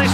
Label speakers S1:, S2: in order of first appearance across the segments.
S1: eh,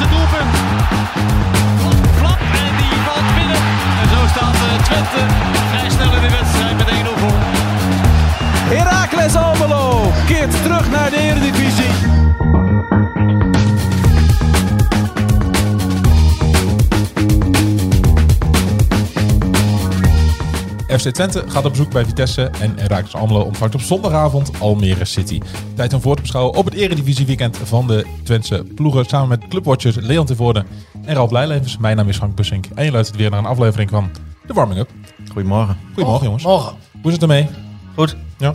S2: FC Twente gaat op bezoek bij Vitesse en Raakers Almelo ontvangt op zondagavond Almere City. Tijd om voor te beschouwen op het eredivisieweekend van de Twentse ploegen samen met clubwatchers Leon Tevoorde en Ralf Leilevens. Mijn naam is Frank Bussink en je luistert weer naar een aflevering van de Warming Up.
S3: Goedemorgen.
S2: Goedemorgen jongens.
S1: Morgen.
S2: Hoe is het ermee?
S3: Goed.
S2: Ja.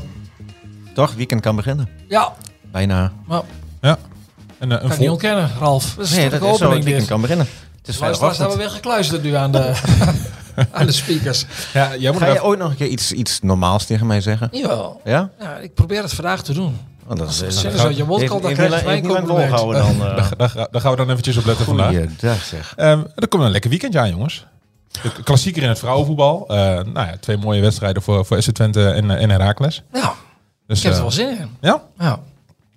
S3: Toch, weekend kan beginnen.
S1: Ja,
S3: Bijna.
S1: maar
S2: Ja. En, eh, een
S1: kan ik
S2: vol-
S1: niet ontkennen, Ralf. Dat is nee,
S3: is zo, het
S1: opening dus.
S3: weekend
S1: dit.
S3: kan beginnen. Het is
S1: Luisteraars hebben
S3: vrijdagochtend.
S1: weer gekluisterd nu aan de, aan de speakers.
S2: ja, jij moet
S3: Ga
S2: nog
S3: je
S2: even-
S3: ooit nog een keer iets, iets normaals tegen mij zeggen?
S1: Jawel.
S3: Ja?
S1: Ja, ik probeer het vandaag te doen.
S3: Want dat is
S1: Als je zo je mond kan, dan krijg je mijn compliment.
S3: volhouden dan. eh.
S2: daar, ga- daar gaan we dan eventjes op letten vandaag.
S3: Goeiedag zeg.
S2: Ehm, er komt een lekker weekendje aan, jongens. De klassieker in het vrouwenvoetbal. Eh, nou ja, twee mooie wedstrijden voor, voor SC Twente en, eh, en Heracles.
S1: Ja,
S2: Dus,
S1: ik heb er
S2: eh,
S1: wel zin in.
S2: Ja?
S1: Ja.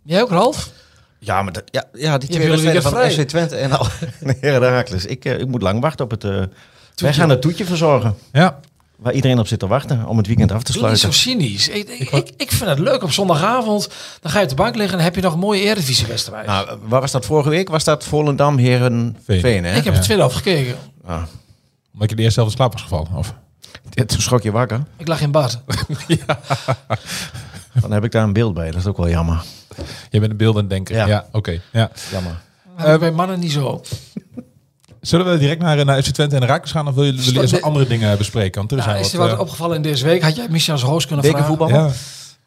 S1: Jij ook, Ralf?
S3: Ja, maar dat, ja, ja, die
S1: Je
S3: twee
S1: hebt jullie
S3: wedstrijden van
S1: weekend
S3: SC Twente en al en Heracles. Ik, eh, ik moet lang wachten op het... eh, wij gaan het toetje verzorgen.
S2: Ja.
S3: Waar iedereen op zit te wachten om het weekend af te
S1: Doe niet
S3: sluiten.
S1: zo cynisch. Ik, ik, ik, ik vind het leuk op zondagavond. Dan ga je op de bank liggen en heb je nog een mooie Eredivisie-wedstrijd.
S3: Nou, waar was dat vorige week? Was dat Volendam, Heren,
S2: Veen.
S3: Veen, hè?
S1: ik heb
S2: ja.
S1: het tweede helft gekeken.
S3: Ah,
S2: Omdat je de eerste zelf in slaap was gevallen. Of?
S3: toen schrok je wakker.
S1: Ik lag in bad.
S3: Dan heb ik daar een beeld bij. Dat is ook wel jammer.
S2: Je bent een beeldend denken. Ja,
S3: Ja.
S2: oké. Ja.
S3: Jammer.
S1: Dat heb ik bij mannen niet zo.
S2: Zullen we direct naar, eh, naar FC Twente en Heracles gaan? Of wil je- willen jullie eerst wat
S1: de-
S2: andere dingen eh, bespreken? Want er
S1: Nou,
S2: zijn
S1: is er
S2: wat...
S1: wat opgevallen in deze week? Had jij Michel als host kunnen
S3: Bekervoetbal?
S2: eh, ja.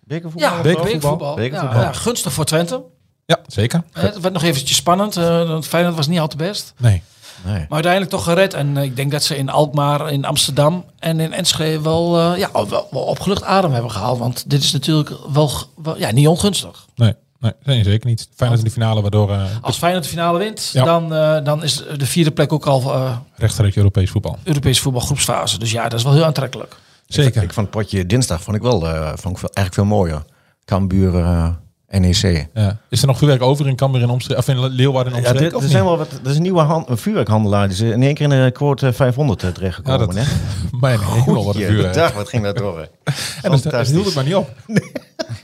S3: Bekervoetbal?
S1: vragen? Ja,
S2: Bekervoetbal.
S1: bekervoetbal. Ja,
S3: Bekervoetbal.
S1: ja, gunstig voor Twente.
S2: ja, zeker.
S1: Hè, Het werd nog eventjes spannend. eh, want Feyenoord was niet al te best.
S2: Nee.
S3: Nee.
S1: Maar uiteindelijk toch gered. En eh, ik denk dat ze in Alkmaar, in Amsterdam en in Enschede wel, eh, ja, wel, wel opgelucht adem hebben gehaald. Want dit is natuurlijk wel, g- wel- ja, niet ongunstig.
S2: Nee. Nee, nee, zeker niet. Fijn dat in de finale, waardoor eh
S1: Als Feyenoord de finale wint,
S2: Ja.
S1: dan, eh, dan is de vierde plek ook al eh
S2: rechtstreeks Europees voetbal.
S1: Europees voetbalgroepsfase. Dus ja, dat is wel heel aantrekkelijk.
S2: Zeker.
S3: Ik vond het potje dinsdag vond ik wel, eh, vond ik veel, eigenlijk veel mooier. Cambuur, eh, NEC.
S2: Ja. Is er nog vuurwerk over in Cambuur en Omstreek? Of in Leeuwarden en
S3: Ja,
S2: Omstreek?
S3: dit-
S2: of
S3: er
S2: niet?
S3: zijn wel wat, er is een nieuwe hand, een vuurwerkhandelaar. Die is in één keer in de quote 500 terechtgekomen.
S2: Ja,
S3: hè?
S2: Mijn hemel, wat een vuurwerk.
S3: Goeiedag, wat ging dat door? hè?
S2: En dat, dat
S3: Fantastisch.
S2: hield het maar niet op.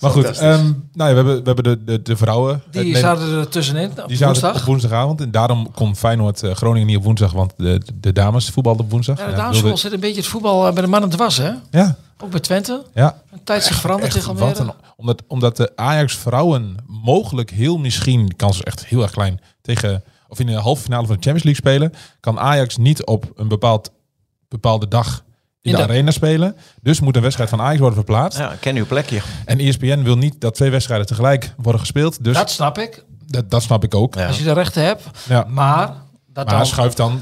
S2: maar goed,
S3: Fantastisch.
S2: ehm, nou ja, we hebben, we hebben de, de, de vrouwen.
S1: Die
S2: eh, nee,
S1: zaten er tussenin op
S2: die zaten
S1: woensdag.
S2: op woensdagavond. En daarom kon Feyenoord eh, Groningen niet op woensdag, want de, de dames voetbalden op woensdag.
S1: Ja, de
S2: Ja,
S1: damesvoetbal
S2: wilde-
S1: zit een beetje het voetbal eh, bij de mannen te was, hè?
S2: Ja,
S1: Ook bij Twente.
S2: ja.
S1: Een tijd zich veranderd
S2: Echt,
S1: tegen
S2: wat een,
S1: Almere.
S2: omdat, omdat de Ajax vrouwen mogelijk heel misschien, de kans is echt heel erg klein, tegen, of in de halve finale van de Champions League spelen, kan Ajax niet op een bepaald, bepaalde dag in,
S1: In
S2: de,
S1: de-
S2: arena spelen. Dus moet een wedstrijd van Ajax worden verplaatst.
S3: Ja, ken uw plekje.
S2: En E ESPN wil niet dat twee wedstrijden tegelijk worden gespeeld. Dus
S1: Dat snap ik,
S2: Dat, dat snap ik ook. Ja.
S3: Ja.
S1: als je de rechten hebt. Maar, dat
S2: Maar
S1: dan,
S2: schuift dan.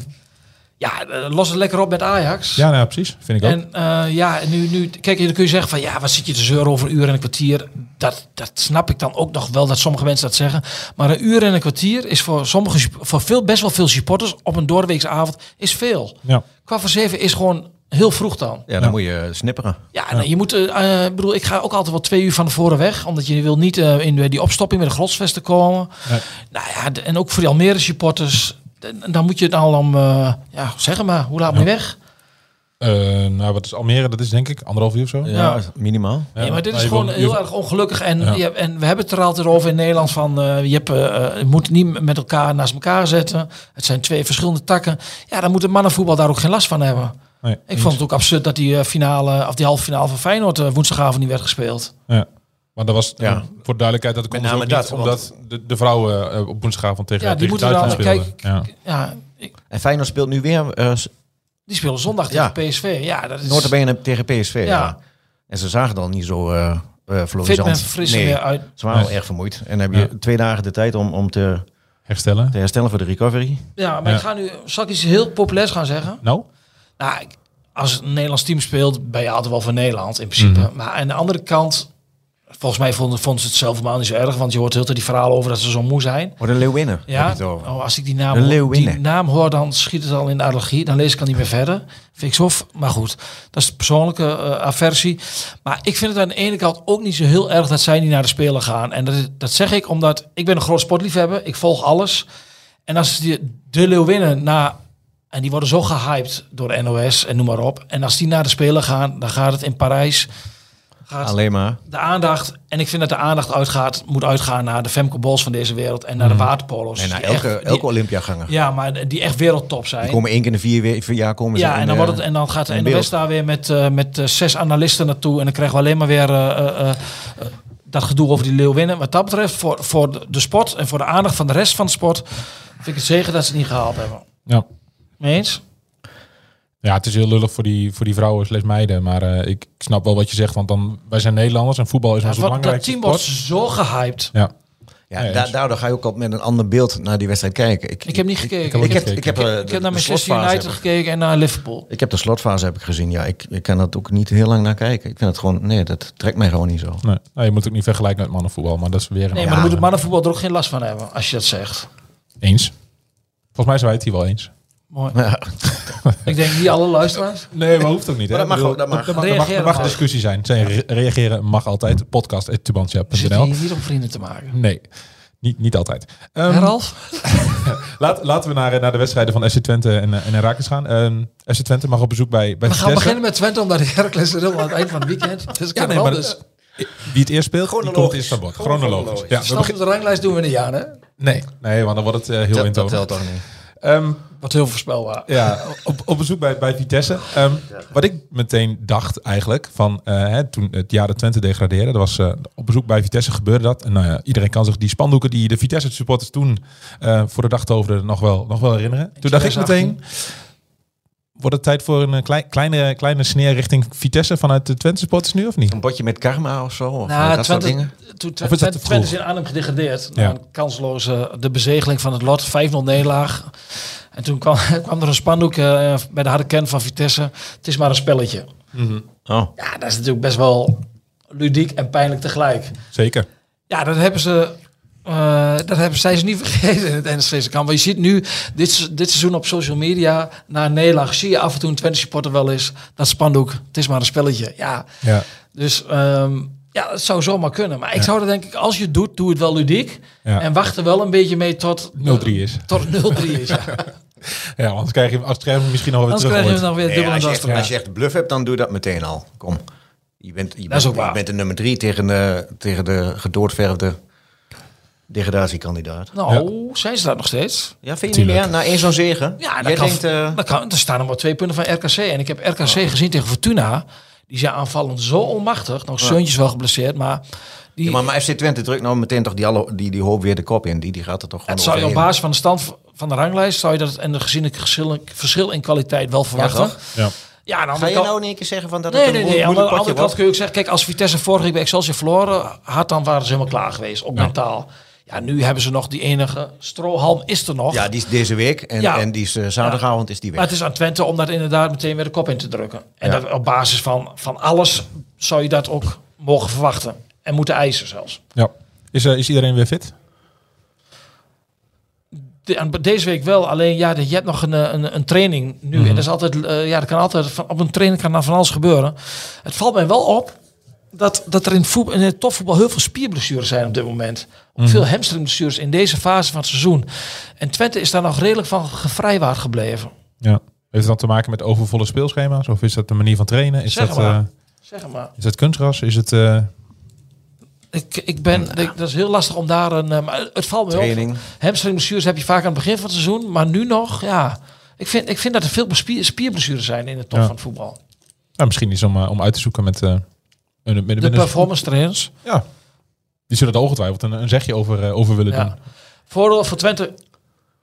S1: ja, eh, los het lekker op met Ajax.
S2: Ja, nou, ja, precies. Vind ik ook.
S1: En eh, ja, en nu, nu, kijk, dan kun je zeggen van ja, wat zit je te zeuren over een uur en een kwartier? Dat, dat snap ik dan ook nog wel dat sommige mensen dat zeggen. Maar een uur en een kwartier is voor sommige, sup- voor veel, best wel veel supporters op een doordeweekse avond is veel.
S2: ja.
S1: Kwart voor zeven is gewoon heel vroeg dan.
S3: Ja, dan
S2: Ja.
S3: moet je eh, snipperen.
S1: Ja, nou, je moet, eh eh, ik bedoel, ik ga ook altijd wel twee uur van tevoren weg, omdat je wil niet eh, in die opstopping met de grotsvesten komen.
S2: Nee.
S1: Nou ja, de- en ook voor die Almere supporters, d- dan moet je het al om, eh, ja, zeg maar, hoe laat moet je weg?
S2: Eh, nou, wat is Almere? Dat is denk ik anderhalf uur of zo.
S3: Ja,
S2: Ja,
S3: minimaal.
S1: nee, maar dit is
S2: je
S1: gewoon
S2: wil- je-
S1: heel erg ongelukkig. En,
S2: Ja.
S1: je- en we hebben het er altijd over in Nederland van eh, je, hebt, eh, eh, je moet het niet met elkaar naast elkaar zetten. Het zijn twee verschillende takken. Ja, dan moet de mannenvoetbal daar ook geen last van hebben.
S2: Nee,
S1: Ik vond het ook absurd dat die eh, finale, of die halve finale van Feyenoord eh, woensdagavond niet werd gespeeld.
S2: Ja. Maar dat was
S3: Ja.
S2: eh, voor duidelijkheid dat ik
S3: Met
S2: kon dus ook
S3: name
S2: niet,
S3: dat,
S2: omdat de, de vrouwen eh, op woensdagavond tegen,
S1: Ja, die
S2: tegen
S1: moeten
S2: Duitsland
S1: dan-
S2: speelden. ja.
S1: Ja, ik-
S3: En Feyenoord speelt nu weer eh
S1: die spelen zondag tegen
S3: Ja.
S1: PSV. Ja, dat is...
S3: notabene tegen PSV. Ja.
S1: Ja.
S3: En ze zagen dan niet zo eh eh
S1: Fit en
S3: florisant.
S1: fris er
S3: nee,
S1: weer uit.
S3: ze waren wel
S2: Nee.
S3: erg vermoeid. En dan heb je
S2: Ja.
S3: twee dagen de tijd om, om te,
S2: Herstellen.
S3: te herstellen voor de recovery.
S1: Ja, maar
S2: Ja.
S1: ik ga nu, zal ik iets heel populairs gaan zeggen?
S2: Nou,
S1: Nou, ik- als een Nederlands team speelt, ben je altijd wel van Nederland in principe. Maar aan de andere kant, volgens mij vonden, vonden ze het zelf helemaal niet zo erg. Want je hoort heel tijd die verhalen over dat ze zo moe zijn.
S3: Voor de Leeuwinnen. heb je
S1: Ja,
S3: het over.
S1: oh, als ik die naam,
S3: De
S1: hoor,
S3: Leeuwinnen.
S1: die naam hoor, dan schiet het al in de allergie. Dan lees ik al niet meer verder. Vind ik zo, f- maar goed. Dat is de persoonlijke eh, aversie. Maar ik vind het aan de ene kant ook niet zo heel erg dat zij niet naar de Spelen gaan. En dat, is- dat zeg ik omdat ik ben een groot sportliefhebber. Ik volg alles. En als die, de Leeuwinnen na... En die worden zo gehyped door de NOS en noem maar op. En als die naar de Spelen gaan, dan gaat het in Parijs... gaat
S3: Alleen maar.
S1: de aandacht. En ik vind dat de aandacht uitgaat, moet uitgaan naar de Femke Bols van deze wereld en naar de waterpolo's.
S3: En
S1: die
S3: Mhm. nou, elke,
S1: echt- die-
S3: elke Olympiaganger.
S1: ja, maar die echt wereldtop zijn.
S3: Die komen één keer in de vier, we- vier jaar komen ze
S1: Ja,
S3: in,
S1: en dan,
S3: eh,
S1: wordt het, en dan gaat de
S3: in
S1: NOS
S3: beeld.
S1: daar weer met, eh, met eh, zes analisten naartoe. En dan krijgen we alleen maar weer eh, eh, eh, dat gedoe over die Leeuwinnen. Wat dat betreft, voor, voor de- de sport en voor de aandacht van de rest van de sport... vind ik het zeker dat ze het niet gehaald hebben.
S2: Ja.
S1: Mee eens?
S2: Ja, het is heel lullig voor die, voor die vrouwen slechts meiden. Maar eh, ik, ik snap wel wat je zegt. Want dan, wij zijn Nederlanders en voetbal is
S1: Ja,
S2: onze
S1: wat- dat
S2: belangrijkste
S1: team
S2: sport.
S1: wordt zo gehyped.
S2: Ja.
S3: Ja,
S2: Ja,
S3: da-
S2: eens.
S3: daardoor ga je ook al met een ander beeld naar die wedstrijd kijken.
S1: Ik heb niet gekeken.
S3: Ik, ik heb, ik heb, eh,
S1: Ik
S3: de-
S1: heb
S3: de
S1: naar Manchester
S3: slotfase
S1: United
S3: heb ik-
S1: gekeken en naar Liverpool.
S3: Ik heb de slotfase heb ik gezien. Ja, ik, ik kan dat ook niet heel lang naar kijken. Ik vind het gewoon, nee, dat trekt mij gewoon niet zo.
S2: Nee. Nou, je moet het ook niet vergelijken met mannenvoetbal. Maar dat is weer een
S1: Nee, maar
S2: ander-
S1: dan moet het mannenvoetbal er ook geen last van hebben, als je dat zegt.
S2: eens. Volgens mij zijn wij het hier wel eens.
S1: Mooi.
S3: Ja,
S1: Ik denk niet alle luisteraars.
S2: Nee, maar hoeft ook niet. Hè?
S3: Maar Oh, dat mag
S2: Ik bedoel,
S3: ook, dat mag.
S2: mag,
S1: Reageren
S2: dat mag
S1: mag.
S2: discussie zijn. Zijn re- reageren mag altijd.
S1: We zitten
S2: Podcast.tubantia.nl
S1: hier niet om vrienden te maken.
S2: Nee, niet, niet altijd. Ehm,
S1: Hè, Ralf?
S2: laat, laten we naar, eh, naar de wedstrijden van SC Twente en, eh, en Herakles gaan. Ehm SC Twente mag op bezoek bij, bij
S1: We gaan
S2: Vitesse.
S1: beginnen met Twente, omdat Heracles er helemaal aan het eind van het weekend. Dus ik
S2: Ja,
S1: heb
S2: nee,
S1: wel
S2: maar
S1: dus...
S2: dat- wie het eerst speelt, die komt
S3: Chronologisch.
S2: eerst aan boord.
S3: Gewoon
S2: Chronologisch. Ja, we
S3: chronologisch.
S1: Snel
S2: beginnen-
S1: op de ranglijst doen we niet aan, hè?
S2: nee, nee, want dan wordt het eh, heel
S3: dat, dat
S2: eentonig.
S3: telt toch niet.
S2: Ehm,
S1: Wat heel voorspelbaar.
S2: ja, op, op bezoek bij, bij Vitesse. Ehm, Wat ik meteen dacht eigenlijk, van eh, hè, toen het jaar de Twente degradeerde, dat was eh, op bezoek bij Vitesse gebeurde dat. En nou ja, iedereen kan zich die spandoeken die de Vitesse supporters toen eh, voor de dag toverden nog wel, nog wel herinneren. Toen dacht ik
S1: 2018.
S2: meteen, wordt het tijd voor een eh, klein, kleine, kleine sneer richting Vitesse vanuit de Twente supporters nu of niet?
S3: Een botje met karma of zo? Of eh,
S1: Nou,
S3: dat
S1: Twente,
S3: soort dingen?
S1: toen
S2: Of is dat
S1: Twente,
S2: te vroeg?
S1: Twente is in Arnhem gedegradeerd.
S2: Ja.
S1: Na een kansloze de bezegeling van het lot. 5-0 nederlaag. En toen kwam, kwam er een spandoek eh, bij de harde kern van Vitesse. Het is maar een spelletje.
S3: Oh,
S1: Ja, dat is natuurlijk best wel ludiek en pijnlijk tegelijk.
S2: Zeker.
S1: Ja, dat hebben ze. eh, dat hebben zij ze niet vergeten in het NSV's kamp. Maar je ziet nu, dit, se- dit seizoen op social media, na een nederlaag, zie je af en toe een Twente supporter wel eens. Dat spandoek, het is maar een spelletje. Ja,
S2: Ja.
S1: dus ehm, ja, het zou zomaar kunnen. Maar ik zou er denk ik, als je het doet, doe het wel ludiek.
S2: Ja.
S1: En wacht er wel een beetje mee tot
S2: 0-3 is.
S1: Tot het 0-3 is. Ja.
S2: Ja, anders krijg je, anders krijg je hem misschien nog weer
S1: Anders
S2: terug.
S1: krijgen we
S2: ooit.
S1: dan weer dubbel en
S3: als, je
S1: dat.
S3: echt, als je echt bluff hebt, dan doe dat meteen al. Kom. Je bent, je
S1: is
S3: bent,
S1: ook waar.
S3: je bent de nummer drie tegen de, tegen de gedoordverfde degradatiekandidaat.
S1: Nou, zijn ze dat nog steeds?
S3: Ja, vind je
S2: Tuurlijk.
S3: niet meer? Na één zo'n zegen?
S1: Ja,
S3: Jij
S1: dat kan,
S3: denkt, eh, Oh.
S1: dat kan. Er staan nog maar twee punten van RKC. En ik heb RKC gezien tegen Fortuna. Die zijn aanvallend zo onmachtig. Nou, Seuntjes wel geblesseerd, maar... Die,
S3: ja, maar, maar FC Twente drukt nou meteen toch die, alle, die, die hoop weer de kop in. Die, die gaat er toch gewoon
S1: dat zou je op
S3: overheen.
S1: basis van de stand van de ranglijst... zou je dat en de gezien het verschil, verschil in kwaliteit wel verwachten.
S3: toch?
S2: Ja.
S1: Ja, aan de
S3: Ga
S1: andere
S3: je
S1: kant-
S3: nou in één keer zeggen van dat het
S1: Nee,
S3: een
S1: nee,
S3: moe-
S1: nee. Aan de
S3: moeilijk
S1: andere
S3: potje
S1: kant
S3: wordt?
S1: kun je ook zeggen... Kijk, als Vitesse vorige week bij Excelsior verloren had... dan waren ze helemaal klaar geweest, ook mentaal. Ja, nu hebben ze nog die enige... Strohalm is er nog.
S3: Ja, die is deze week. En,
S1: Ja.
S3: en die is eh, zaterdagavond is die weg.
S1: Maar het is aan Twente om dat inderdaad meteen weer de kop in te drukken. En
S3: Ja.
S1: dat op basis van, van alles zou je dat ook mogen verwachten. En moeten eisen zelfs.
S2: ja. Is, eh, is iedereen weer fit?
S1: De- aan- deze week wel, alleen ja, de- je hebt nog een, eh, een, een training nu. En dat is altijd, eh, ja, dat kan altijd, van, op een training kan dan van alles gebeuren. Het valt mij wel op dat, dat er in, voet, in het topvoetbal heel veel spierblessures zijn op dit moment. Ook Veel hamstringblessures in deze fase van het seizoen. En Twente is daar nog redelijk van gevrijwaard gebleven.
S2: Ja. Heeft het dan te maken met overvolle speelschema's? Of is dat de manier van trainen? Is,
S1: Zeg
S2: dat,
S1: maar.
S2: eh,
S1: Zeg maar.
S2: is dat kunstgras? Is het... eh,
S1: Ik, ik ben, ik- dat is heel lastig om daar een. eh, Maar het valt me
S3: Training.
S1: op. Hamstringblessures heb je vaak aan het begin van het seizoen, maar nu nog, ja. Ik vind, ik vind dat er veel spier, spierblessures zijn in de top
S2: Ja.
S1: van het voetbal.
S2: Nou, misschien iets om, eh, om uit te zoeken met... eh, een- met- met
S1: De
S2: een-
S1: performance trainers.
S2: Ja. Die zullen er ongetwijfeld een, een zegje over, eh, over willen
S1: Ja.
S2: doen.
S1: Voordeel voor Twente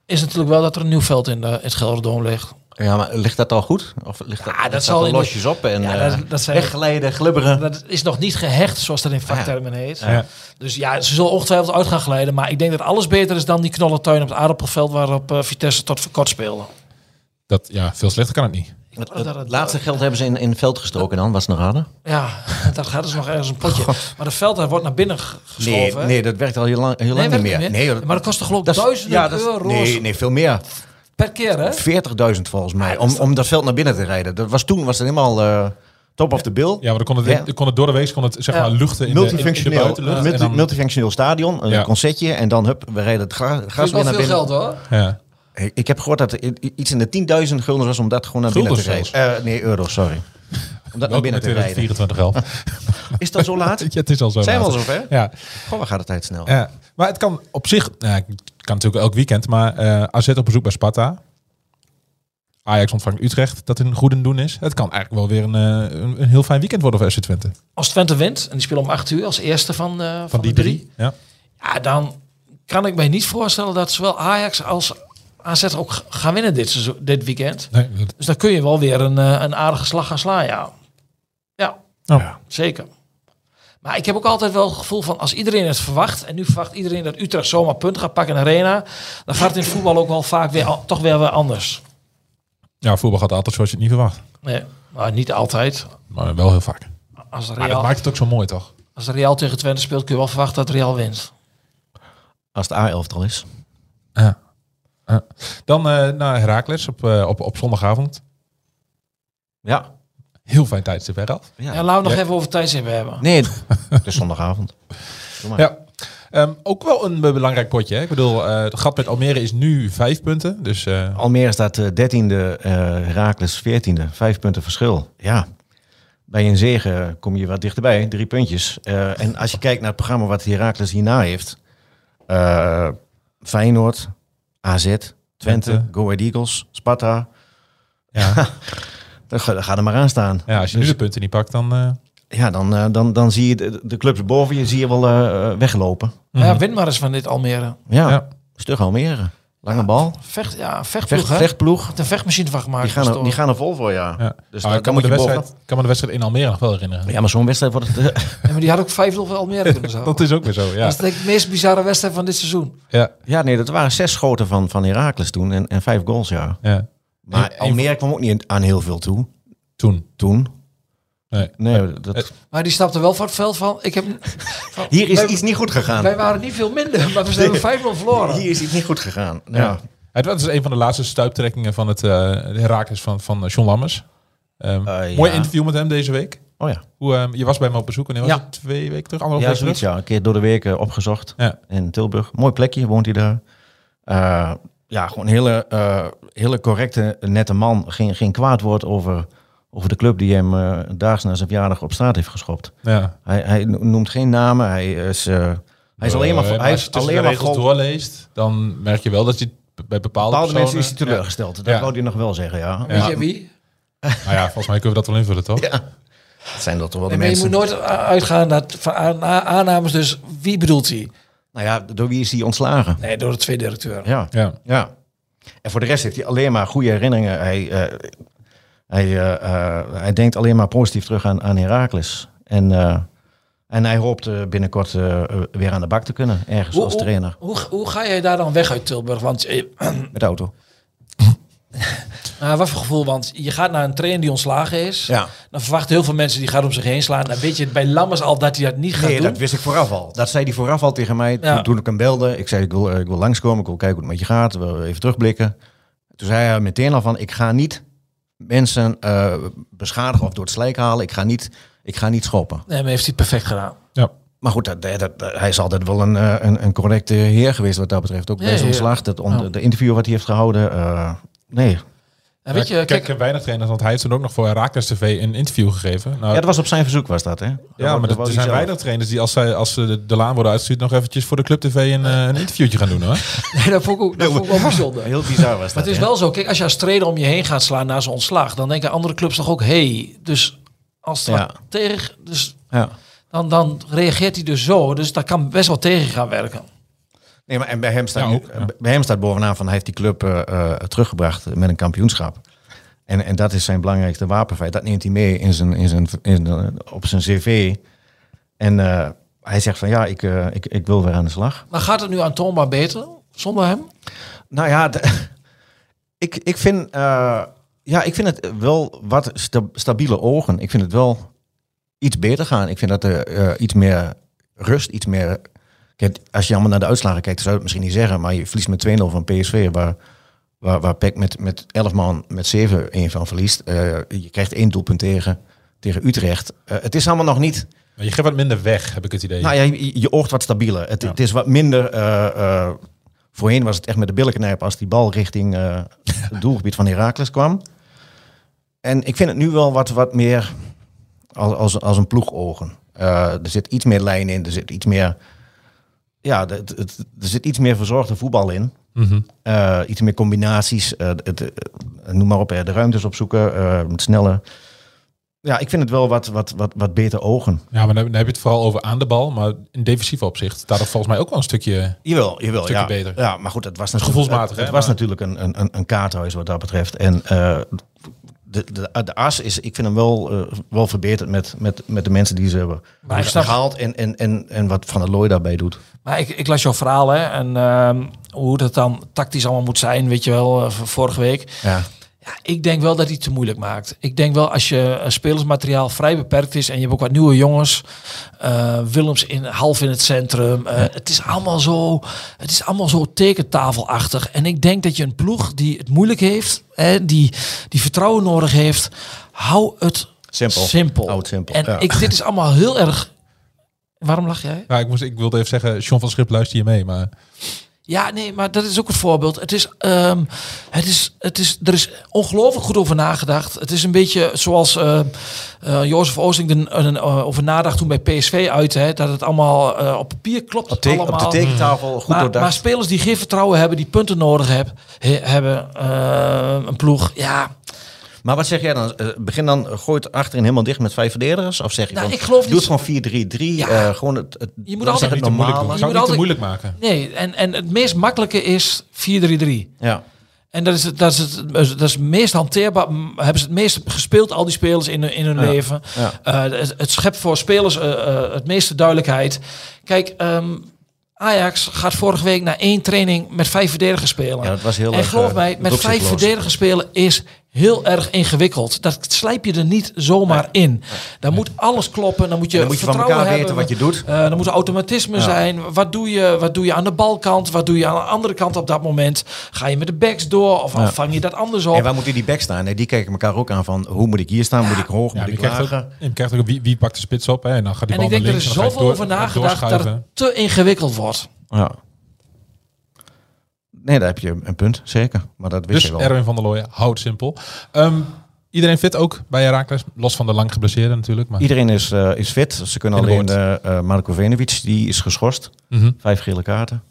S1: is natuurlijk wel dat er een nieuw veld in, de, in het Gelderdoom ligt.
S3: Ja, maar ligt dat al goed? Of ligt dat,
S1: Ja, dat
S3: ligt
S1: zal
S3: er
S1: in de-
S3: losjes op en
S1: Ja,
S3: eh,
S1: dat- dat zijn-
S3: wegglijden, glibberen?
S1: Dat is nog niet gehecht, zoals dat in vaktermen heet.
S2: Ja.
S1: Dus ja, ze zullen ongetwijfeld uit gaan glijden. Maar ik denk dat alles beter is dan die knollentuin op het aardappelveld waarop eh, Vitesse tot voor kort speelde.
S2: Dat, ja, veel slechter kan het niet.
S3: Het,
S1: Oh, dat-
S3: het
S1: dat-
S3: laatste geld hebben ze in, in het veld gestoken dan, was het nog hadden?
S1: Ja, dat gaat dus nog ergens een potje. Maar de veld daar wordt naar binnen g- geschoven.
S3: Nee,
S1: hè?
S3: nee, dat werkt al heel lang, heel lang
S1: werkt
S3: niet meer.
S1: niet meer?
S3: Nee,
S1: maar dat kost toch geloof ik
S3: dat is-
S1: duizenden
S3: ja, dat is-
S1: euro's
S3: Nee, nee, veel meer.
S1: per keer, hè?
S3: 40.000 volgens mij, om, om dat veld naar binnen te rijden. Dat was, toen was het helemaal eh, top of the bill.
S2: Ja, maar dan kon het,
S3: Ja.
S2: dan kon het door de week kon het, zeg
S1: Ja.
S2: maar, luchten in de, in- in de
S3: multifunctioneel,
S2: buitenlucht.
S3: multi-
S2: En dan-
S3: multifunctioneel stadion, een
S2: Ja.
S3: concertje en dan hup, we rijden het gra-
S1: Dat
S3: gras
S1: is
S3: weer
S1: wel
S3: naar
S1: veel
S3: binnen.
S1: geld, hoor.
S2: ja.
S3: Ik, ik heb gehoord dat er i- i- iets in de 10.000 guldens was om dat gewoon naar
S2: Guldens
S3: binnen te rijden. Eh, nee, euro's, sorry. Om dat naar binnen te rijden.
S2: 2024 al.
S3: Is dat zo laat?
S2: Ja, het is al zo
S3: Zijn we al
S2: laat.
S3: zover?
S2: Ja,
S3: Goh, waar gaat de tijd snel?
S2: ja, Eh, maar het kan op zich, nou, het kan natuurlijk elk weekend, maar eh AZ op bezoek bij Sparta. Ajax ontvangt Utrecht, dat in goede doen is. Het kan eigenlijk wel weer een, eh, een, een heel fijn weekend worden voor SC Twente.
S1: Als Twente wint, en die spelen om acht uur als eerste van, eh, van,
S2: Van die
S1: de
S2: drie. Ja.
S1: Ja, dan kan ik mij niet voorstellen dat zowel Ajax als AZ ook g- gaan winnen dit, seizoen- dit weekend.
S2: Nee, dat-
S1: Dus dan kun je wel weer een, eh, een aardige slag gaan slaan, ja. Ja,
S2: nou,
S1: zeker. Maar ik heb ook altijd wel het gevoel van als iedereen het verwacht... en nu verwacht iedereen dat Utrecht zomaar punt gaat pakken in de arena... dan gaat het in het voetbal ook wel vaak weer, al- toch weer weer anders.
S2: ja, voetbal gaat altijd zoals je het niet verwacht.
S1: Nee, maar niet altijd.
S2: Maar wel heel vaak.
S1: Als de
S2: Maar dat
S1: Real,
S2: maakt het ook zo mooi, toch?
S1: als de Real tegen Twente speelt kun je wel verwachten dat Real wint.
S3: Als het A-elftal is.
S2: Ja. Ja. Dan eh, naar Herakles op, eh, op, op zondagavond.
S3: Ja.
S2: Heel fijn tijdstip, hè Ralf?
S3: ja. Mhm.
S1: Ja, laten we nog
S2: Ja.
S1: even over tijdstip hebben.
S3: Nee, het is zondagavond.
S2: Ja. Ehm, ook wel een eh, belangrijk potje. Hè? Ik bedoel, eh, het gat met Almere is nu vijf punten. Dus eh,
S3: Almere staat eh, 13e, eh Herakles 14e. Vijf punten verschil. Ja. Bij een zege eh, kom je wat dichterbij. Drie puntjes. Eh, en als je kijkt naar het programma wat Herakles hierna heeft. eh, Feyenoord, AZ, Twente,
S2: Twente.
S3: Go Ahead Eagles, Sparta.
S2: ja.
S3: Dan ga, dan ga er maar aan staan. Dus
S2: ja, als je nu de punten niet pakt, dan... eh,
S3: Ja, dan, eh, dan, dan zie je de, de clubs boven je zie je wel eh, eh, weglopen.
S1: Maar Ja, win maar eens van dit Almere.
S3: Ja,
S2: Ja.
S3: stug Almere. Lange bal.
S1: Vecht, ja,
S3: Vecht,
S1: vechtploeg, hè?
S3: vechtploeg.
S1: Heeft een vechtmachine van gemaakt.
S3: Die gaan, er,
S1: Pastoor.
S3: die gaan er vol voor, ja.
S2: ja.
S3: Dus
S2: Ah,
S3: dan,
S2: ik kan
S3: dan
S2: me
S3: moet
S2: de
S3: je
S2: wedstrijd,
S3: bovenop.
S2: ik kan me de wedstrijd in Almere nog wel herinneren.
S3: Ja, maar zo'n wedstrijd wordt het... eh,
S1: Ja, maar die had ook 5-0 voor Almere kunnen zijn.
S2: Dat is ook weer zo, ja.
S1: Dat is denk ik de meest bizarre wedstrijd van dit seizoen.
S2: ja,
S3: ja, nee, dat waren zes schoten van, van Heracles toen en, en vijf goals, ja.
S2: ja.
S3: Maar
S2: Een-
S3: Almere kwam ook niet aan heel veel toe
S2: Toen.
S3: toen.
S2: Nee.
S3: Nee, dat,
S2: Het-
S1: Maar die stapte wel van het veld van. Ik heb, van-
S3: hier is
S1: wij,
S3: iets niet goed
S1: wij
S3: gegaan.
S1: waren niet veel minder, maar we zijn
S3: Nee.
S1: 5-0 verloren.
S3: Hier is iets niet goed gegaan. Ja.
S2: Ja. Het was dus een van de laatste stuiptrekkingen van het eh Herakles van, van eh, John Lammers. Ehm,
S3: Eh,
S2: Mooi
S3: ja.
S2: interview met hem deze week.
S3: Oh ja.
S2: Hoe, ehm, je was bij hem op bezoek en hij was
S3: Ja.
S2: het twee weken terug,
S3: Ja,
S2: anderhalf week
S3: zoiets,
S2: terug.
S3: ja. Een keer door de week eh, opgezocht
S2: Ja.
S3: in Tilburg. Mooi plekje, woont hij daar. Eh, ja, gewoon een hele, eh, hele correcte, nette man. Geen, geen kwaad woord over, over de club die hem eh, daags na zijn verjaardag op straat heeft geschopt.
S2: Ja.
S3: Hij, hij no- noemt geen namen. Hij is, eh, hij is alleen maar,
S2: Eh,
S3: voor- hij
S2: als je
S3: is
S2: tussen
S3: alleen
S2: de
S3: maar
S2: regels
S3: voor
S2: doorleest, dan merk je wel dat je bij bepaalde,
S3: bepaalde mensen is hij
S2: personen- Ja.
S3: teleurgesteld. Dat
S2: Ja.
S3: wou hij nog wel zeggen, ja.
S2: Ja.
S1: Weet
S3: Maar
S1: je wie?
S2: Nou ja, volgens mij kunnen we dat wel invullen, toch?
S3: het zijn dat toch wel de
S1: Nee, maar je
S3: mensen.
S1: moet nooit a- uitgaan dat, van aan- a- aannames. Dus wie bedoelt hij?
S3: Nou ja, door wie is hij ontslagen?
S1: Nee, door de twee directeur.
S3: Ja.
S2: Ja.
S3: Ja. En voor de rest heeft hij alleen maar goede herinneringen. Hij, eh, hij, eh, eh, hij denkt alleen maar positief terug aan, aan Herakles. En, eh, en hij hoopt eh, binnenkort eh, eh, weer aan de bak te kunnen. Ergens als trainer.
S1: Hoe, hoe, ga jij daar dan weg uit Tilburg? Want eh,
S3: Met de auto.
S1: nou, wat voor gevoel? Want je gaat naar een trainer die ontslagen is.
S3: Ja.
S1: Dan verwachten heel veel mensen die gaat om zich heen slaan. Dan weet je bij Lammers al dat hij dat niet gaat
S3: Nee,
S1: doen.
S3: dat wist ik vooraf al. Dat zei hij vooraf al tegen mij
S1: Ja.
S3: toen, toen ik hem belde. Ik zei, ik wil, eh, ik wil langskomen. Ik wil kijken hoe het met je gaat. We even terugblikken. Toen zei hij meteen al van, ik ga niet mensen eh, beschadigen of door het slijk halen. Ik ga niet, ik ga niet schoppen.
S1: Nee, maar heeft hij het perfect gedaan.
S2: Ja.
S3: Maar goed, dat, dat, dat- hij is altijd wel een, eh, een, een correcte heer geweest wat dat betreft. Ook
S1: Ja,
S3: bij zijn
S1: ja.
S3: ontslag, dat on-
S1: Ja.
S3: de interview wat hij heeft gehouden. eh, nee,
S1: En Nou, weet je,
S2: Ja, ik
S1: kijk,
S2: kijk, weinig trainers, want hij heeft toen ook nog voor Herakles TV een interview gegeven. Nou,
S3: ja,
S2: ja,
S3: dat was op zijn verzoek was dat, hè?
S2: maar dat- er zijn weinig trainers die als, zij, als ze de, de laan worden uitgestuurd... nog eventjes voor de Club TV een, eh, een interviewtje gaan doen, hoor.
S1: nee, dat vond ik ook, dat vond ik wel bijzonder.
S3: Heel bizar was dat.
S1: Maar het is
S3: hè?
S1: wel zo, kijk, als je als trainer om je heen gaat slaan na zo'n ontslag, dan denken andere clubs toch ook, hey, dus als het
S3: Ja.
S1: wat tegen, dus
S3: Ja.
S1: dan, dan reageert hij dus zo, dus dat kan best wel tegen gaan werken.
S3: Nee, maar en bij hem staat,
S2: Ja,
S3: nu-
S2: ook, ja.
S3: bij hem staat bovenaan van hij heeft die club eh, eh, teruggebracht met een kampioenschap. En, en dat is zijn belangrijkste wapenfeit. Dat neemt hij mee in zijn, in zijn, in, zijn- op zijn cv. En eh, hij zegt van ja, ik, eh, ik, ik wil weer aan de slag.
S1: Maar gaat het nu aan Tomba beter zonder hem?
S3: Nou ja, de- ik, ik, vind, eh, ja, ik vind het wel wat sta- stabiele ogen. Ik vind het wel iets beter gaan. Ik vind dat er eh, iets meer rust, iets meer... Kijk, als je allemaal naar de uitslagen kijkt, zou je het misschien niet zeggen... maar je verliest met 2-0 van PSV, waar, waar, waar PEC met, met 11 man met 7-1 van verliest. Eh, je krijgt één doelpunt tegen, tegen Utrecht. Eh, het is allemaal nog niet...
S2: Maar je geeft wat minder weg, heb ik het idee.
S3: Nou ja, je, je oogt wat stabieler. Het, het is wat minder. eh, eh, voorheen was het echt met de billen knijpen als die bal richting eh, het doelgebied van Herakles kwam. En ik vind het nu wel wat, wat meer. Als, als, als een ploegogen. Eh er zit iets meer lijn in, er zit iets meer... Ja, de- het- het- er zit iets meer verzorgde voetbal in.
S2: Mhm.
S3: Eh, iets meer combinaties. eh, het, eh, noem maar op, eh, de ruimtes opzoeken. eh het snelle. Ja, ik vind het wel wat, wat, wat, wat beter ogen.
S2: Ja, maar dan dan heb je het vooral over aan de bal. Maar in defensief opzicht staat er volgens mij ook wel een stukje...
S3: Jawel, jawel.
S2: Stukje
S3: ja.
S2: beter.
S3: Ja, maar goed, het was
S2: is
S3: natuurlijk,
S2: gevoelsmatig,
S3: het,
S2: hè,
S3: was
S2: maar-
S3: natuurlijk een, een, een, een kaarthuis wat dat betreft. En eh, de, de, de as is, ik vind hem wel, eh, wel verbeterd met, met, met de mensen die ze hebben
S1: Maar ik snap-
S3: gehaald. En, en, en, en wat Van der Looy daarbij doet.
S1: Maar ik, ik las jouw verhaal hè, en ehm, hoe dat dan tactisch allemaal moet zijn, weet je wel, eh, van vorige week.
S3: Ja.
S1: Ja, ik denk wel dat hij het te moeilijk maakt. Ik denk wel als je eh, spelersmateriaal vrij beperkt is en je hebt ook wat nieuwe jongens, eh, Willems in, half in het centrum. eh, Het is allemaal zo, het is allemaal zo tekentafelachtig. En ik denk dat je een ploeg die het moeilijk heeft, hè, die, die vertrouwen nodig heeft, hou het
S3: Simpel.
S1: simpel.
S3: Hou het simpel,
S1: En
S3: ja.
S1: ik, dit is allemaal heel erg. Waarom lach jij?
S2: Ja, ik, moest, ik wilde even zeggen, Sean van Schip luister je mee. Maar
S1: Ja, nee, maar dat is ook het voorbeeld. Het is, ehm, het is, het is, er is ongelooflijk goed over nagedacht. Het is een beetje zoals eh eh Jozef Oosting er eh, eh, over nadacht toen bij PSV uit. Hè, dat het allemaal eh, op papier klopt.
S3: Op, teken- op de
S1: allemaal. Hmm.
S3: tekentafel goed
S1: maar, maar
S3: doordacht.
S1: spelers die geen vertrouwen hebben, die punten nodig heb, he- hebben, eh, een ploeg. Ja,
S3: Maar wat zeg jij dan? Eh, Begin dan, eh, gooi het achterin helemaal dicht met vijf verdedigers? Of zeg je
S1: Nou,
S3: van,
S1: ik geloof
S3: doe
S1: niet-
S3: het gewoon 4-3-3.
S1: Ja.
S3: eh, gewoon het, het,
S1: Je moet
S3: laat
S2: zou het niet
S3: zeggen, het
S2: te moeilijk doen.
S3: normale.
S2: Zou het niet te
S1: altijd-
S2: moeilijk maken.
S1: nee. En, en het meest makkelijke is 4-3-3.
S3: Ja.
S1: En dat is, het, dat, is het, dat is het meest hanteerbaar. m, Hebben ze het meest gespeeld, al die spelers in, hun- in hun leven.
S3: ja.
S1: Eh, het, het schept voor spelers eh, eh, het meeste duidelijkheid. Kijk, ehm, Ajax gaat vorige week na één training met vijf verdedigers spelen.
S3: Ja, dat was heel
S1: en
S3: erg,
S1: geloof
S3: eh,
S1: mij, met vijf
S3: doelopzichtloos.
S1: verdedigers spelen is heel erg ingewikkeld. Dat slijp je er niet zomaar in. Dan moet alles kloppen. Dan moet je,
S3: dan moet je van
S1: vertrouwen
S3: elkaar
S1: hebben.
S3: weten wat je doet.
S1: Eh, er moet automatisme
S3: Ja.
S1: zijn. Wat doe, je, wat doe je aan de balkant? Wat doe je aan de andere kant op dat moment? Ga je met de backs door of vang je dat anders op?
S3: En waar moet die back staan? Nee, die kijken elkaar ook aan van hoe moet ik hier staan? Moet ik hoog?
S2: Ja,
S3: moet
S2: je
S3: ik
S2: krijgt,
S3: lager?
S2: ook, je krijgt ook wie, wie pakt de spits op. Hè? En dan gaat
S1: en
S2: die bal
S1: ik denk
S2: naar
S1: er
S2: links.
S1: is
S2: en dan
S1: zoveel
S2: ga je
S1: over
S2: door-
S1: nagedacht dat
S2: doorschuiven.
S1: het te ingewikkeld wordt.
S3: Ja. Nee, daar heb je een punt, zeker. Maar dat wist
S2: Dus
S3: je wel.
S2: Erwin van der Looyen, houd simpel. Ehm, iedereen fit ook bij Herakles. Los van de lang geblesseerde natuurlijk. Maar,
S3: Iedereen is, eh, is fit. Ze kunnen
S2: In de
S3: alleen eh, eh, Marko Venovic, die is geschorst.
S2: Mhm.
S3: Vijf gele kaarten.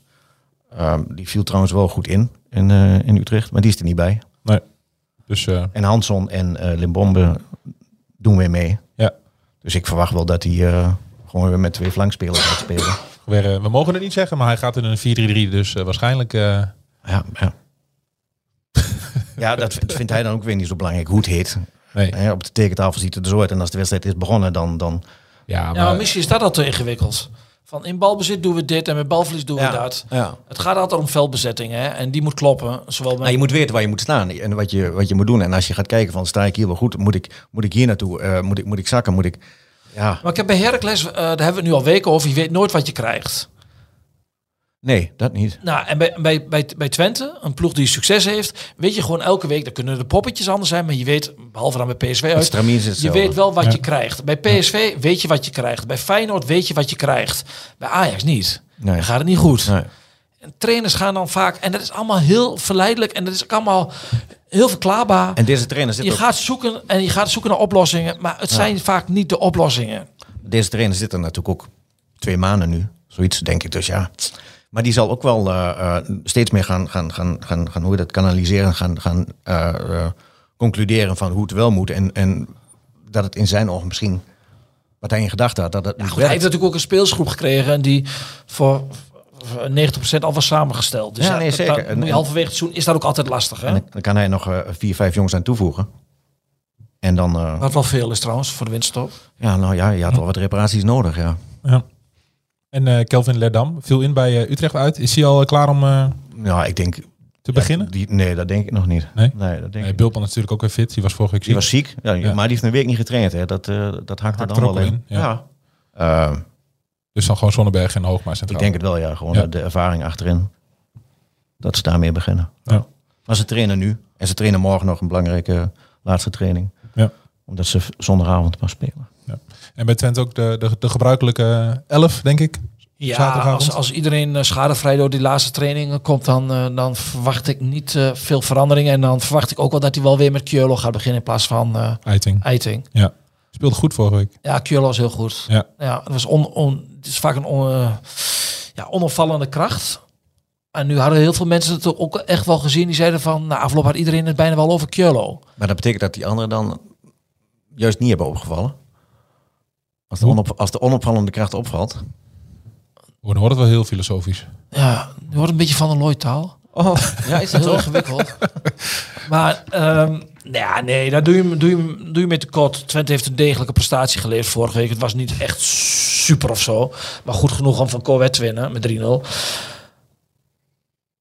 S3: Ehm, die viel trouwens wel goed in in, eh, in Utrecht, maar die is er niet bij.
S2: Dus eh,
S3: En Hanson en eh, Limbombe doen weer mee.
S2: Ja.
S3: Dus ik verwacht wel dat hij eh, gewoon weer met twee flankspelers gaat spelen.
S2: weer, eh, we mogen het niet zeggen, maar hij gaat in een 4-3-3. Dus eh, waarschijnlijk... eh,
S3: Ja, ja. ja, dat vindt- vindt hij dan ook weer niet zo belangrijk hoe het heet.
S2: nee.
S3: Hè, op de tekentafel ziet het er zo uit. En als de wedstrijd is begonnen, dan... dan
S2: Ja, maar,
S1: Ja, maar misschien is dat al te ingewikkeld. Van in balbezit doen we dit en met balverlies doen
S3: Ja.
S1: we dat.
S3: ja.
S1: Het gaat altijd om veldbezetting hè? en die moet kloppen. Zowel bij
S3: Nou, je moet weten waar je moet staan en wat je, wat je moet doen. En als je gaat kijken van, sta ik hier wel goed? Moet ik, moet ik hier naartoe? Eh, moet, ik, moet ik zakken? Moet ik... Ja,
S1: Maar ik heb bij Heracles, eh, daar hebben we het nu al weken over, je weet nooit wat je krijgt.
S3: nee, dat niet.
S1: Nou, en bij, bij, bij, bij Twente, een ploeg die succes heeft, weet je gewoon elke week, dan kunnen de poppetjes anders zijn, maar je weet, behalve dan bij PSV
S3: Het
S1: uit,
S3: stramien is
S1: je
S3: hetzelfde.
S1: weet wel wat
S2: Ja.
S1: je krijgt. Bij PSV weet je wat je krijgt. Bij Feyenoord weet je wat je krijgt. Bij Ajax niet.
S3: Nee.
S1: Dan gaat het niet goed.
S3: Nee.
S1: En trainers gaan dan vaak, en dat is allemaal heel verleidelijk en dat is ook allemaal heel verklaarbaar.
S3: En deze trainer, zit
S1: je
S3: ook,
S1: gaat zoeken en je gaat zoeken naar oplossingen, maar het zijn vaak niet de oplossingen.
S3: deze trainer zit er natuurlijk ook twee maanden nu. Zoiets denk ik dus, ja. Maar die zal ook wel eh, eh, steeds meer gaan, gaan, gaan, gaan, gaan, hoe je dat kanaliseren, gaan, gaan eh, eh, concluderen van hoe het wel moet. En, en dat het in zijn ogen misschien, wat hij in gedachten had, dat het niet
S1: Goed, hij
S3: werkt.
S1: heeft natuurlijk ook een speelsgroep gekregen en die voor voor 90% al was samengesteld. Dus
S3: Ja,
S1: ja,
S3: nee,
S1: dat-
S3: zeker.
S1: dat
S3: En-
S1: moet je
S3: en-
S1: halverwege het seizoen is dat ook altijd lastig. Hè?
S3: En dan kan hij nog eh, vier, vijf jongens aan toevoegen. En dan, eh,
S2: Oh.
S1: Wat wel veel is trouwens voor de winststop.
S3: ja, nou ja, je had wel wat reparaties nodig, ja.
S2: ja. En eh, Kelvin Lerdam viel in bij eh, Utrecht uit. Is hij al eh, klaar om eh,
S3: Nou, ik denk...
S2: te beginnen?
S3: Die, nee, dat denk ik nog niet.
S2: Nee?
S3: dat denk
S2: Nee,
S3: ik
S2: Bultman is natuurlijk ook weer fit. Die was vorige week
S3: Die
S2: ziek.
S3: was ziek, ja,
S2: Ja.
S3: maar die heeft een week niet getraind. Hè. Dat, eh, dat hakt
S2: Hakt
S3: er dan
S2: er ook
S3: wel in.
S2: in, ja.
S3: Eh,
S2: Dus dan gewoon Zonneberg en Hoogma
S3: ik
S2: centraal.
S3: denk het wel, ja. Gewoon
S2: Ja.
S3: de ervaring achterin. Dat ze daarmee beginnen.
S2: Ja.
S3: Maar ze trainen nu. En ze trainen morgen nog een belangrijke laatste training.
S2: Ja.
S3: Omdat ze v- zondagavond pas spelen.
S2: En bij Twente ook de, de, de gebruikelijke 11, denk ik.
S1: Ja,
S2: Zaterdagavond.
S1: als, als iedereen eh, schadevrij door die laatste trainingen komt, dan, eh, dan verwacht ik niet eh, veel veranderingen. En dan verwacht ik ook wel dat hij wel weer met Kjolo gaat beginnen in plaats van eh
S2: Eiting.
S1: Eiting.
S2: Ja. Speelde goed vorige week.
S1: Ja, Kjell was heel goed.
S2: Ja.
S1: het, was on, on, het is vaak een on- eh, ja, onopvallende kracht. En nu hadden heel veel mensen het ook echt wel gezien. Die zeiden van, na afloop had iedereen het bijna wel over Kjolo.
S3: Maar dat betekent dat die anderen dan juist niet hebben opgevallen. Als de,
S2: Hoe?
S3: onop, als de onopvallende kracht opvalt.
S2: We horen het wel heel filosofisch.
S1: Ja, nu wordt een beetje van een Lloyd-taal.
S3: Oh, ja, is dat
S1: heel
S3: toch?
S1: ingewikkeld. maar ehm, nou ja, nee, daar doe je, hem- doe, je, hem- doe je met tekort. Twente heeft een degelijke prestatie geleverd vorige week. Het was niet echt super of zo. Maar goed genoeg om van Corvette te winnen met 3-0.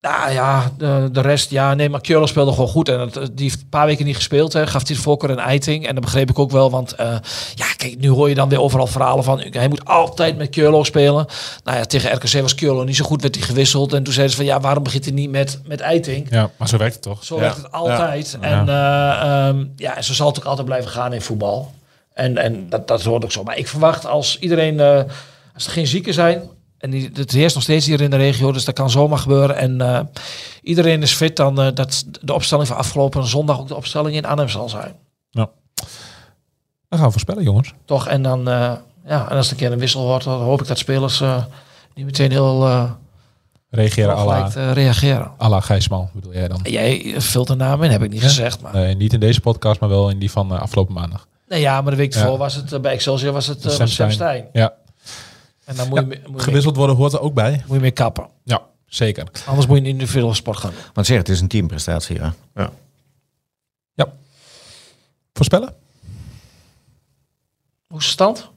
S1: Nou ja, de, de rest, ja, nee, maar Kjolo speelde gewoon goed. En het, die heeft een paar weken niet gespeeld, hè, gaf hij de voorkeur een eiting. En dat begreep ik ook wel, want eh, ja, kijk, nu hoor je dan weer overal verhalen van... hij moet altijd met Kjolo spelen. Nou ja, tegen RKC was Kjolo niet zo goed, werd hij gewisseld. En toen zeiden ze van, ja, waarom begint hij niet met, met eiting?
S2: Ja, maar zo werkt het toch?
S1: Zo
S3: Ja.
S1: werkt het altijd. En, eh, ehm, ja, en zo zal het ook altijd blijven gaan in voetbal. En, en dat, dat hoort ook zo. Maar ik verwacht als iedereen, eh, als er geen zieken zijn. En die, het heerst nog steeds hier in de regio, dus dat kan zomaar gebeuren. En eh, iedereen is fit, dan eh, dat de opstelling van afgelopen zondag ook de opstelling in Arnhem zal zijn.
S2: Dan gaan we voorspellen, jongens.
S1: Toch? En dan, eh, ja, en als er een keer een wissel wordt, dan hoop ik dat spelers eh niet meteen heel eh
S2: Reageren à la,
S1: gelijk eh, reageren.
S2: à la Gijsmal, bedoel jij dan?
S1: Jij vult de naam in, heb ik niet gezegd. Maar
S2: Nee, niet in deze podcast, maar wel in die van eh, afgelopen maandag.
S1: Nee, ja, maar de week
S2: Ja.
S1: ervoor was het eh, bij Excelsior was het eh,
S2: Sam
S1: was Sam
S2: Stein.
S1: Stein.
S2: Ja,
S1: En dan moet, je, me- moet, je, mee-
S2: gewisseld worden hoort er ook bij.
S1: moet je mee kappen.
S2: Ja, zeker.
S1: Anders moet je een individuele sport gaan doen.
S3: Want zeg, het is een teamprestatie, hè? Ja.
S2: Voorspellen?
S1: Hoe is de stand?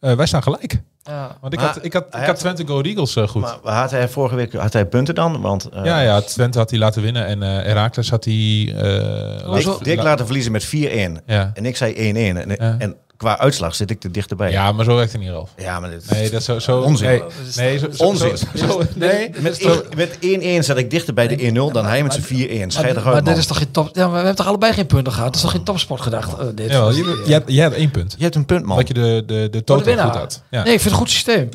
S2: Eh, wij staan gelijk.
S1: Ja.
S2: Want ik
S3: Maar
S2: had, ik had, ik
S3: hij
S2: had
S3: had-
S2: Twente Go Eagles eh, goed.
S3: Maar had hij vorige week had hij punten dan? Want eh,
S2: ja, ja, Twente had hij laten winnen en eh Herakles had hij... eh,
S1: Oh, zo.
S3: Dick, Dick laten verliezen met 4-1.
S2: Ja.
S3: En ik zei 1-1. En, en qua uitslag zit ik er dichterbij.
S2: ja, maar zo werkt het niet, Ralf.
S3: Ja, maar dit
S2: Nee, dat is zo... zo
S3: Onzin.
S2: Nee, nee, zo, zo-
S3: Onzin.
S2: zo- zo- nee.
S3: Met één- met 1-1 zat ik dichter bij de 1-0 dan hij met zijn 4-1. Scheid
S1: Maar,
S3: eruit,
S1: maar dit
S3: man.
S1: is toch geen top. Ja, maar we hebben toch allebei geen punten gehad. Het is toch geen topsport gedacht. eh, dit.
S2: Jawel, je- jij, hebt- jij hebt één punt.
S3: Je hebt een punt, man.
S2: Omdat je de, de, de
S1: Voor de
S2: totaal
S1: winnaar.
S2: goed had. Ja,
S1: Nee, ik vind het een goed systeem.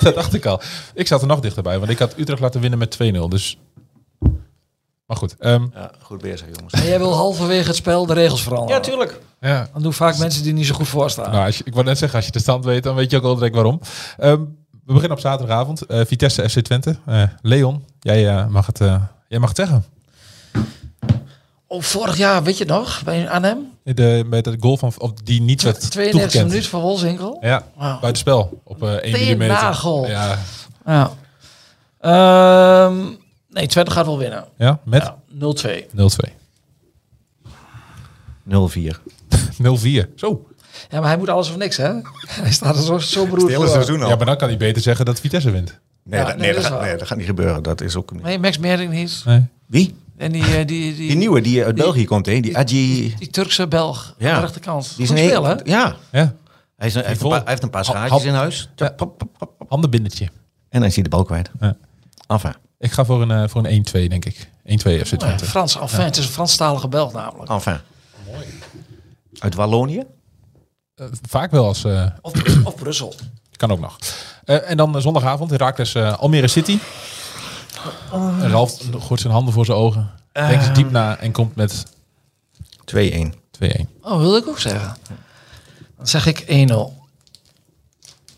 S2: dat dacht ik al. Ik zat er nog dichterbij, want ik had Utrecht laten winnen met 2-0. Dus... Maar goed. ehm,
S3: Ja, goed bezig, jongens.
S1: En jij wil halverwege het spel de regels veranderen.
S3: tuurlijk.
S2: ja.
S1: Dan doen vaak mensen die niet zo goed voorstaan.
S2: Nou, als je, ik wou net zeggen, als je de stand weet, dan weet je ook al direct waarom. Ehm, we beginnen op zaterdagavond. Eh, Vitesse FC Twente. Eh, Leon, jij, eh, mag het, eh, jij mag het zeggen.
S1: Oh, vorig jaar, weet je het nog, bij Arnhem?
S2: De, met het goal van of die niet werd
S1: 32
S2: toegekend.
S1: minuten van Wolzinkel.
S2: Ja,
S1: Wauw.
S2: buitenspel op eh 1
S1: Meteen
S2: mm.
S1: nagel.
S2: Ja,
S1: Ja. Ehm, nee, Twente gaat wel winnen.
S2: ja, met
S1: Ja, 0-2.
S2: 0-2. 0-4.
S3: 0-4.
S2: Zo.
S1: Ja, maar hij moet alles of niks, hè? Hij staat er zo, zo beroerd
S3: Het hele
S1: voor.
S3: seizoen al.
S2: Ja, maar dan kan hij beter zeggen dat Vitesse wint.
S3: nee,
S1: Ja,
S3: dat,
S1: nee,
S3: nee,
S1: dat
S3: dat
S1: is
S3: gaat,
S1: waar.
S3: nee, dat gaat niet gebeuren. Dat is ook niet.
S1: Nee, Max Mering niet.
S2: Nee.
S3: Wie?
S1: En die, eh, die,
S3: Die
S1: die, die,
S3: nieuwe die uit België komt, hè? Die Adji.
S1: Turkse Belg
S3: Ja.
S1: aan de rechterkant.
S3: Die
S1: Goed
S3: een-
S1: speel, hè?
S3: Ja.
S2: Ja,
S3: Hij, is een, hij, heeft een
S2: vol.
S3: paar, hij heeft een paar
S2: Hap-
S3: schaartjes in huis.
S2: Ja.
S3: Pop, pop, pop, pop.
S2: handenbindertje.
S3: En hij ziet de bal kwijt.
S2: Ja.
S3: Af, hè?
S2: Ik ga voor een, eh, voor een 1-2, denk ik. 1-2 FC
S1: Oh Ja,
S2: Twente.
S1: Frans, enfin, het is een Franstalige Belg namelijk.
S3: Af, hè? Uit Wallonië?
S2: Eh, vaak wel als... eh,
S1: Of, of Brussel.
S2: Kan ook nog. Eh, en dan eh, zondagavond Herakles eh, Almere City. En Ralf gooit zijn handen voor zijn ogen. denkt eens diep na en komt met 2-1.
S3: 2-1.
S1: Oh, wilde ik ook zeggen. Dan zeg ik 1-0.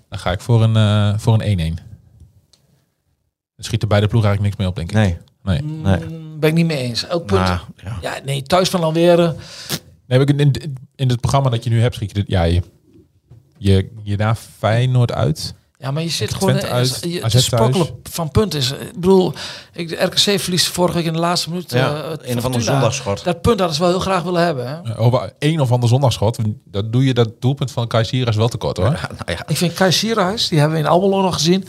S2: Dan ga ik voor een, eh, voor een 1-1. Dan schiet er bij de ploeg eigenlijk niks meer op, denk ik.
S3: Nee.
S2: Nee.
S3: Nee.
S1: Mm, Ben ik niet mee eens. Elk punt.
S3: Nou, ja.
S1: Ja, nee, thuis van Almere.
S2: nee maar ik- in, in het programma dat je nu hebt, schiet je... dit- Ja, je, je, je na Feyenoord uit.
S1: Ja, maar je zit
S2: Twente
S1: gewoon... eh,
S2: uit,
S1: je,
S2: AZ
S1: het sprokkelen van punten is... eh, Ik bedoel, ik, de RKC verliest vorige week in de laatste minuut...
S3: Ja,
S1: eh, het
S3: een of ander
S1: Fortuna.
S3: zondagsschot.
S1: Dat punt hadden ze wel heel graag willen hebben. Hè?
S2: Eh, Over een of ander zondagschot. Dat doe je dat doelpunt van Kaiseras wel tekort, hoor.
S3: Ja, nou ja.
S1: Ik vind Kai Sierhuis, die hebben we in Almelo nog gezien.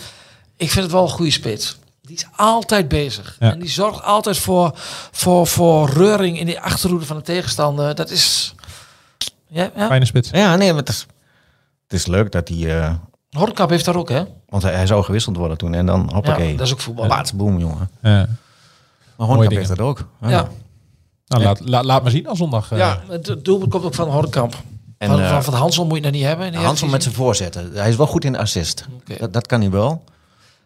S1: Ik vind het wel een goede spits. Die is altijd bezig.
S2: Ja.
S1: En die zorgt altijd voor, voor, voor reuring in die achterhoede van de tegenstander. Dat is... Ja, ja.
S2: Fijne spits.
S3: ja, nee, maar het is, het is leuk dat hij... eh,
S1: Horkap heeft daar ook, hè?
S3: want hij, hij zou gewisseld worden toen. En dan, hoppakee.
S1: Ja, dat is ook voetbal.
S3: Plaats, boom, jongen.
S2: Ja.
S3: Maar Hornkamp
S2: dingen.
S3: heeft dat ook. Ja.
S1: Ja,
S2: nou, laat, laat, laat maar zien dan zondag. eh.
S1: ja. het doelpunt komt ook van Horkamp.
S3: En,
S1: van,
S3: eh,
S1: van, van Hansel moet je dat niet hebben. in de
S3: Hansel met
S1: Eredivisie.
S3: zijn voorzetten. Hij is wel goed in de assist.
S1: Oké.
S3: Dat, dat kan hij wel. Maar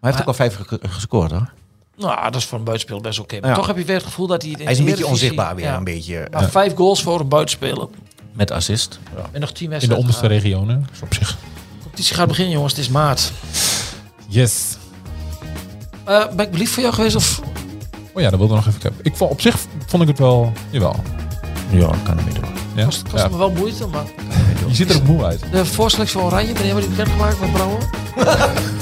S3: hij heeft ook al vijf ge- gescoord hoor.
S1: Nou, dat is voor een buitenspeel best oké. Maar
S3: Ja.
S1: toch heb je weer het gevoel dat hij... in
S3: Hij is een
S1: de
S3: beetje
S1: Eredivisie-
S3: onzichtbaar weer.
S1: Ja.
S3: Een beetje, eh,
S1: Maar vijf goals voor een buitenspeler.
S3: Met assist. Ja.
S1: En nog tien
S2: In de
S1: wedstrijden.
S2: onderste
S1: Ah,
S2: regionen. Dus op zich.
S1: de competitie gaat beginnen, jongens. Het is maart.
S2: Yes.
S1: Eh, ben ik beliefd voor jou geweest? Of
S2: Oh ja, dat wilde ik nog even hebben. Ik vond, op zich vond ik het wel... Jawel.
S3: Ja, kan ermee doen.
S2: Ja?
S1: kost, kost
S2: Ja.
S1: me wel moeite? Maar
S2: Je ziet er ook moe uit.
S1: de voorselectie van Oranje, wanneer wordt die bekendgemaakt met Brouwer?